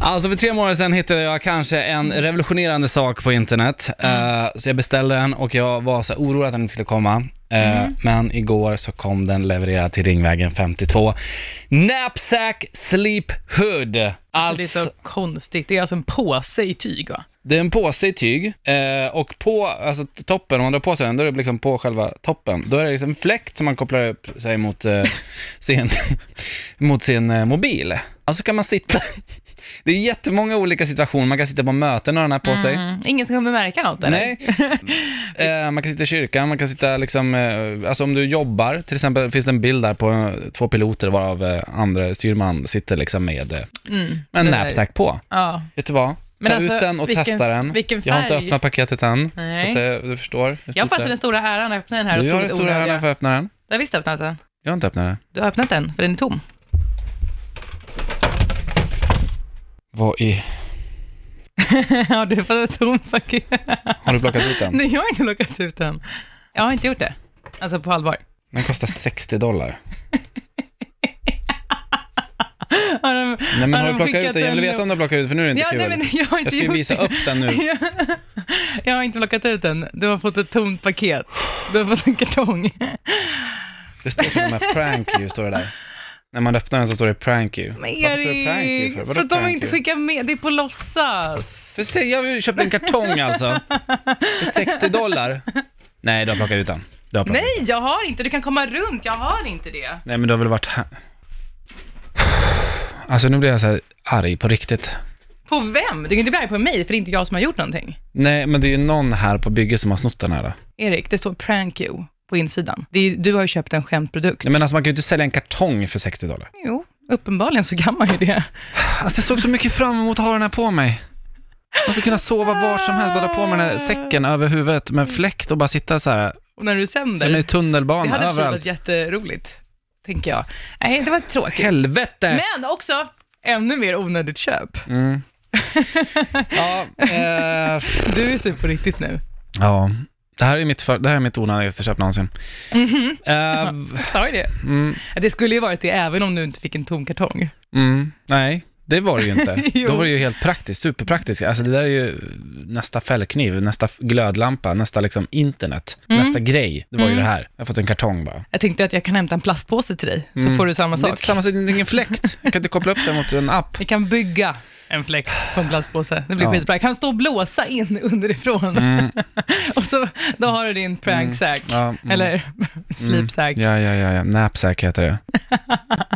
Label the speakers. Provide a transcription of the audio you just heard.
Speaker 1: Alltså för tre månader sedan hittade jag kanske en revolutionerande sak på internet.
Speaker 2: Mm.
Speaker 1: Eh, så jag beställde den och jag var så här orolig att den inte skulle komma. Eh,
Speaker 2: Mm.
Speaker 1: Men igår så kom den levererad till Ringvägen 52. Knapsack Sleep Hood.
Speaker 2: Alltså, det är så konstigt. Det är alltså en påse i tyg va?
Speaker 1: Det är en påse i tyg eh, och på alltså, t- toppen, om man drar på sig den, då är det liksom på själva toppen. Då är det liksom en fläkt som man kopplar upp sig mot eh, sin, mot sin eh, mobil. Och så kan man sitta. Det är jättemånga olika situationer. Man kan sitta på möten och ha den här på sig.
Speaker 2: Mm. Ingen som kommer märka något eller?
Speaker 1: Nej. Eh, man kan sitta i kyrkan, man kan sitta liksom, eh, alltså om du jobbar, till exempel finns det en bild där på eh, två piloter varav eh, andra styrman sitter liksom med eh,
Speaker 2: Mm,
Speaker 1: med en
Speaker 2: det där.
Speaker 1: knapsack på.
Speaker 2: Ja.
Speaker 1: Vet du vad?
Speaker 2: Men
Speaker 1: Ta
Speaker 2: alltså,
Speaker 1: ut den och
Speaker 2: vilken-
Speaker 1: testa den.
Speaker 2: vilken
Speaker 1: Jag har inte
Speaker 2: färg?
Speaker 1: öppnat paketet än.
Speaker 2: Nej.
Speaker 1: Så att, eh, du förstår. Det är
Speaker 2: Jag har
Speaker 1: stort
Speaker 2: faktiskt
Speaker 1: där.
Speaker 2: den stora äran att öppna den här
Speaker 1: Du har den
Speaker 2: otroligt
Speaker 1: stora äran
Speaker 2: onödiga.
Speaker 1: för att öppna den.
Speaker 2: Du har visst öppnat den.
Speaker 1: Jag har inte öppnat den.
Speaker 2: Du har öppnat den, för den är tom.
Speaker 1: Vad i...
Speaker 2: ja, du har fått ett tomt paket.
Speaker 1: Har du plockat ut den?
Speaker 2: Nej, jag har inte lockat ut den. Jag har inte gjort det. Alltså på allvar.
Speaker 1: Den kostar 60 dollar.
Speaker 2: Har de,
Speaker 1: Nej men har
Speaker 2: de
Speaker 1: du plockat
Speaker 2: skickat
Speaker 1: ut den? Jag vill
Speaker 2: en-
Speaker 1: veta om du har plockat ut för nu är det inte
Speaker 2: ja,
Speaker 1: kul.
Speaker 2: nej, men jag har inte
Speaker 1: jag ska ju
Speaker 2: gjort
Speaker 1: visa
Speaker 2: det.
Speaker 1: upp den nu.
Speaker 2: jag har inte plockat ut den. Du har fått ett tomt paket. Du har fått en kartong.
Speaker 1: Det står till och med prank you, står det där. När man öppnar den så står det prank you.
Speaker 2: Men
Speaker 1: Varför står det prank you
Speaker 2: Erik,
Speaker 1: för?
Speaker 2: för,
Speaker 1: Vadå
Speaker 2: att de
Speaker 1: prank
Speaker 2: inte
Speaker 1: you?
Speaker 2: skickar med. Det är på låtsas.
Speaker 1: För säg, jag har ju köpt en kartong alltså. För 60 dollar. Nej, du har plockat ut den. Du har plockat.
Speaker 2: Nej, jag har inte. Du kan komma runt. Jag har inte det.
Speaker 1: Nej, men du har väl varit här. Alltså nu blir jag så här arg på riktigt.
Speaker 2: På vem? Du kan inte bli arg på mig, för det är inte jag som har gjort någonting.
Speaker 1: Nej, men det är ju någon här på bygget som har snott den här då.
Speaker 2: Erik, det står prank you på insidan. Det är, du har ju köpt en skämtprodukt.
Speaker 1: Nej, men alltså man kan ju inte sälja en kartong för 60 dollar.
Speaker 2: Jo, uppenbarligen så kan man ju det.
Speaker 1: Alltså jag såg så mycket fram emot att ha den här på mig. Måste kunna sova var som helst, bara dra på mig den här säcken över huvudet med fläkt och bara sitta så här.
Speaker 2: Och när du
Speaker 1: Jag
Speaker 2: sänder,
Speaker 1: menar i
Speaker 2: det
Speaker 1: tunnelbanan,
Speaker 2: hade i och för sig
Speaker 1: överallt.
Speaker 2: varit jätteroligt, tänker jag. Nej, det var tråkigt.
Speaker 1: Helvete!
Speaker 2: Men också, ännu mer onödigt köp.
Speaker 1: Mm. Ja, eh,
Speaker 2: Du är sur på riktigt nu.
Speaker 1: ja. Det här är mitt, för, det här är mitt onödigaste köp någonsin.
Speaker 2: Mhm.
Speaker 1: Eh, v-
Speaker 2: Jag sa ju det.
Speaker 1: mm,
Speaker 2: Det skulle ju varit det även om du inte fick en tom kartong.
Speaker 1: mm, nej, det var det ju inte.
Speaker 2: Jo.
Speaker 1: Då var det ju helt praktiskt, superpraktiskt. Alltså det där är ju nästa fällkniv, nästa f- glödlampa, nästa liksom internet,
Speaker 2: Mm.
Speaker 1: nästa grej. Det var ju det här. Jag har fått en kartong bara.
Speaker 2: Jag tänkte att jag kan hämta en plastpåse till dig, så
Speaker 1: Mm.
Speaker 2: får du samma
Speaker 1: Det är
Speaker 2: sak.
Speaker 1: inte samma sak, det är ingen fläkt. Jag kan inte koppla upp den mot en app.
Speaker 2: Vi kan bygga en fläkt på en plastpåse. Det blir
Speaker 1: Ja.
Speaker 2: skitbra. Jag kan stå och blåsa in underifrån.
Speaker 1: Mm,
Speaker 2: Och så, då har du din pranksack.
Speaker 1: ja, mm.
Speaker 2: Eller sleepsack.
Speaker 1: Ja, ja, ja, ja. Knapsack heter det.